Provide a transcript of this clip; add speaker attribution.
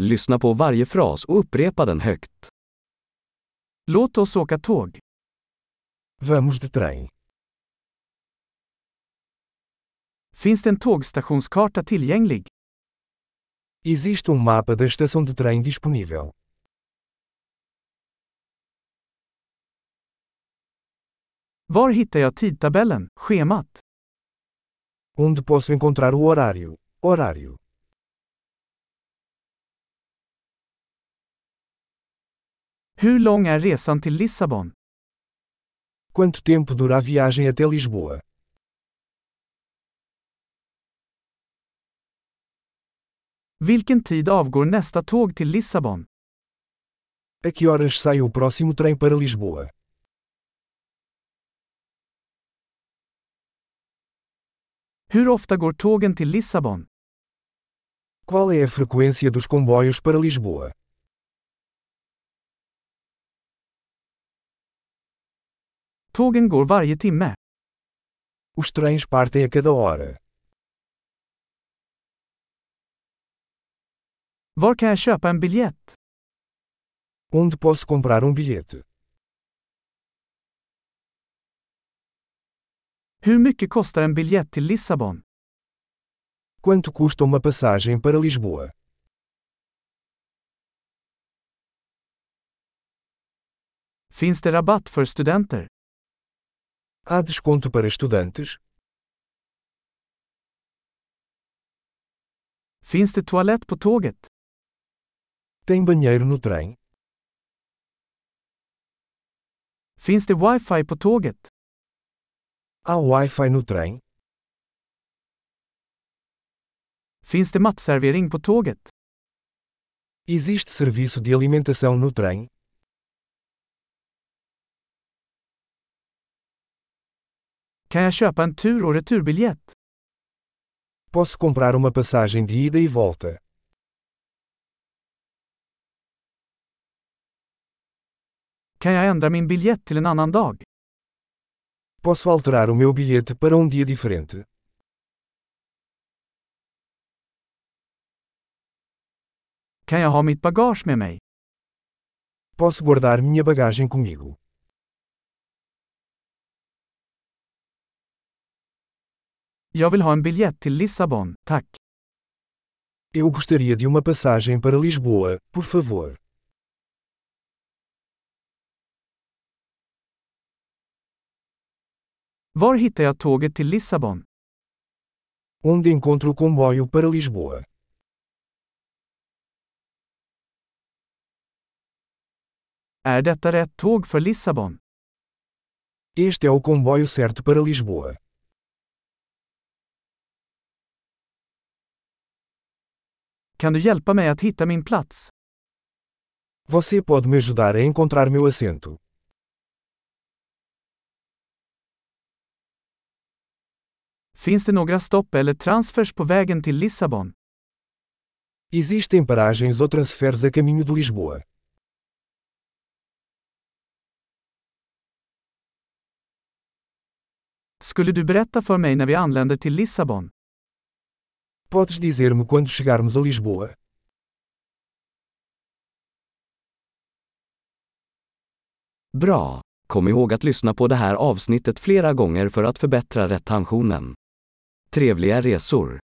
Speaker 1: Lyssna på varje fras och upprepa den högt. Låt oss åka tåg.
Speaker 2: Vamos de trem.
Speaker 1: Finns det en tågstationskarta tillgänglig?
Speaker 2: Existe um mapa da estação de trem disponível.
Speaker 1: Var hittar jag tidtabellen, schemat?
Speaker 2: Onde posso encontrar o horário? Horário.
Speaker 1: Hur lång är resan till Lissabon?
Speaker 2: Quanto tempo dura a viagem até Lisboa?
Speaker 1: Vilken tid avgår nästa tåg till Lissabon?
Speaker 2: A que horas sai o próximo trem para Lisboa?
Speaker 1: Hur ofta går tågen till Lissabon?
Speaker 2: Qual é a frequência dos comboios para Lisboa?
Speaker 1: Tågen går varje timme.
Speaker 2: Os trens partem a cada hora.
Speaker 1: Var kan jag köpa en biljett?
Speaker 2: Onde posso comprar um bilhete?
Speaker 1: Hur mycket kostar en biljett till Lissabon?
Speaker 2: Quanto custa uma passagem para Lisboa?
Speaker 1: Finns det rabatt för studenter?
Speaker 2: Há desconto para estudantes?
Speaker 1: Finns det toalett på tåget?
Speaker 2: Tem banheiro no trem?
Speaker 1: Finns det wifi på tåget?
Speaker 2: Há Wi-Fi no trem?
Speaker 1: Finns det matservering på tåget?
Speaker 2: Existe serviço de alimentação no trem?
Speaker 1: Kan jag köpa en tur och returbiljett?
Speaker 2: Posso comprar uma passagem de ida e volta?
Speaker 1: Kan jag ändra min biljett till en annan dag?
Speaker 2: Posso alterar o meu bilhete para um dia diferente?
Speaker 1: Kan jag ha mitt bagage med mig?
Speaker 2: Posso guardar minha bagagem comigo?
Speaker 1: Jag vill ha en biljett till Lissabon, tack.
Speaker 2: Eu gostaria de uma passagem para Lisboa, por favor.
Speaker 1: Var hittar jag tåget till Lissabon?
Speaker 2: Onde encontro o comboio para Lisboa?
Speaker 1: Är detta rätt tåg för Lissabon?
Speaker 2: Este é o comboio certo para Lisboa.
Speaker 1: Kan du hjälpa mig att hitta min plats?
Speaker 2: Você pode me ajudar a encontrar meu assento.
Speaker 1: Finns det några stopp eller transfers på vägen till Lissabon?
Speaker 2: Existem paragens ou transferes a caminho de Lisboa.
Speaker 1: Skulle du berätta för mig när vi anländer till Lissabon?
Speaker 2: Podes dizer-me quando chegarmos a Lisboa?
Speaker 1: Bra!
Speaker 3: Kom ihåg att lyssna på det här avsnittet flera gånger för att förbättra retentionen. Trevliga resor!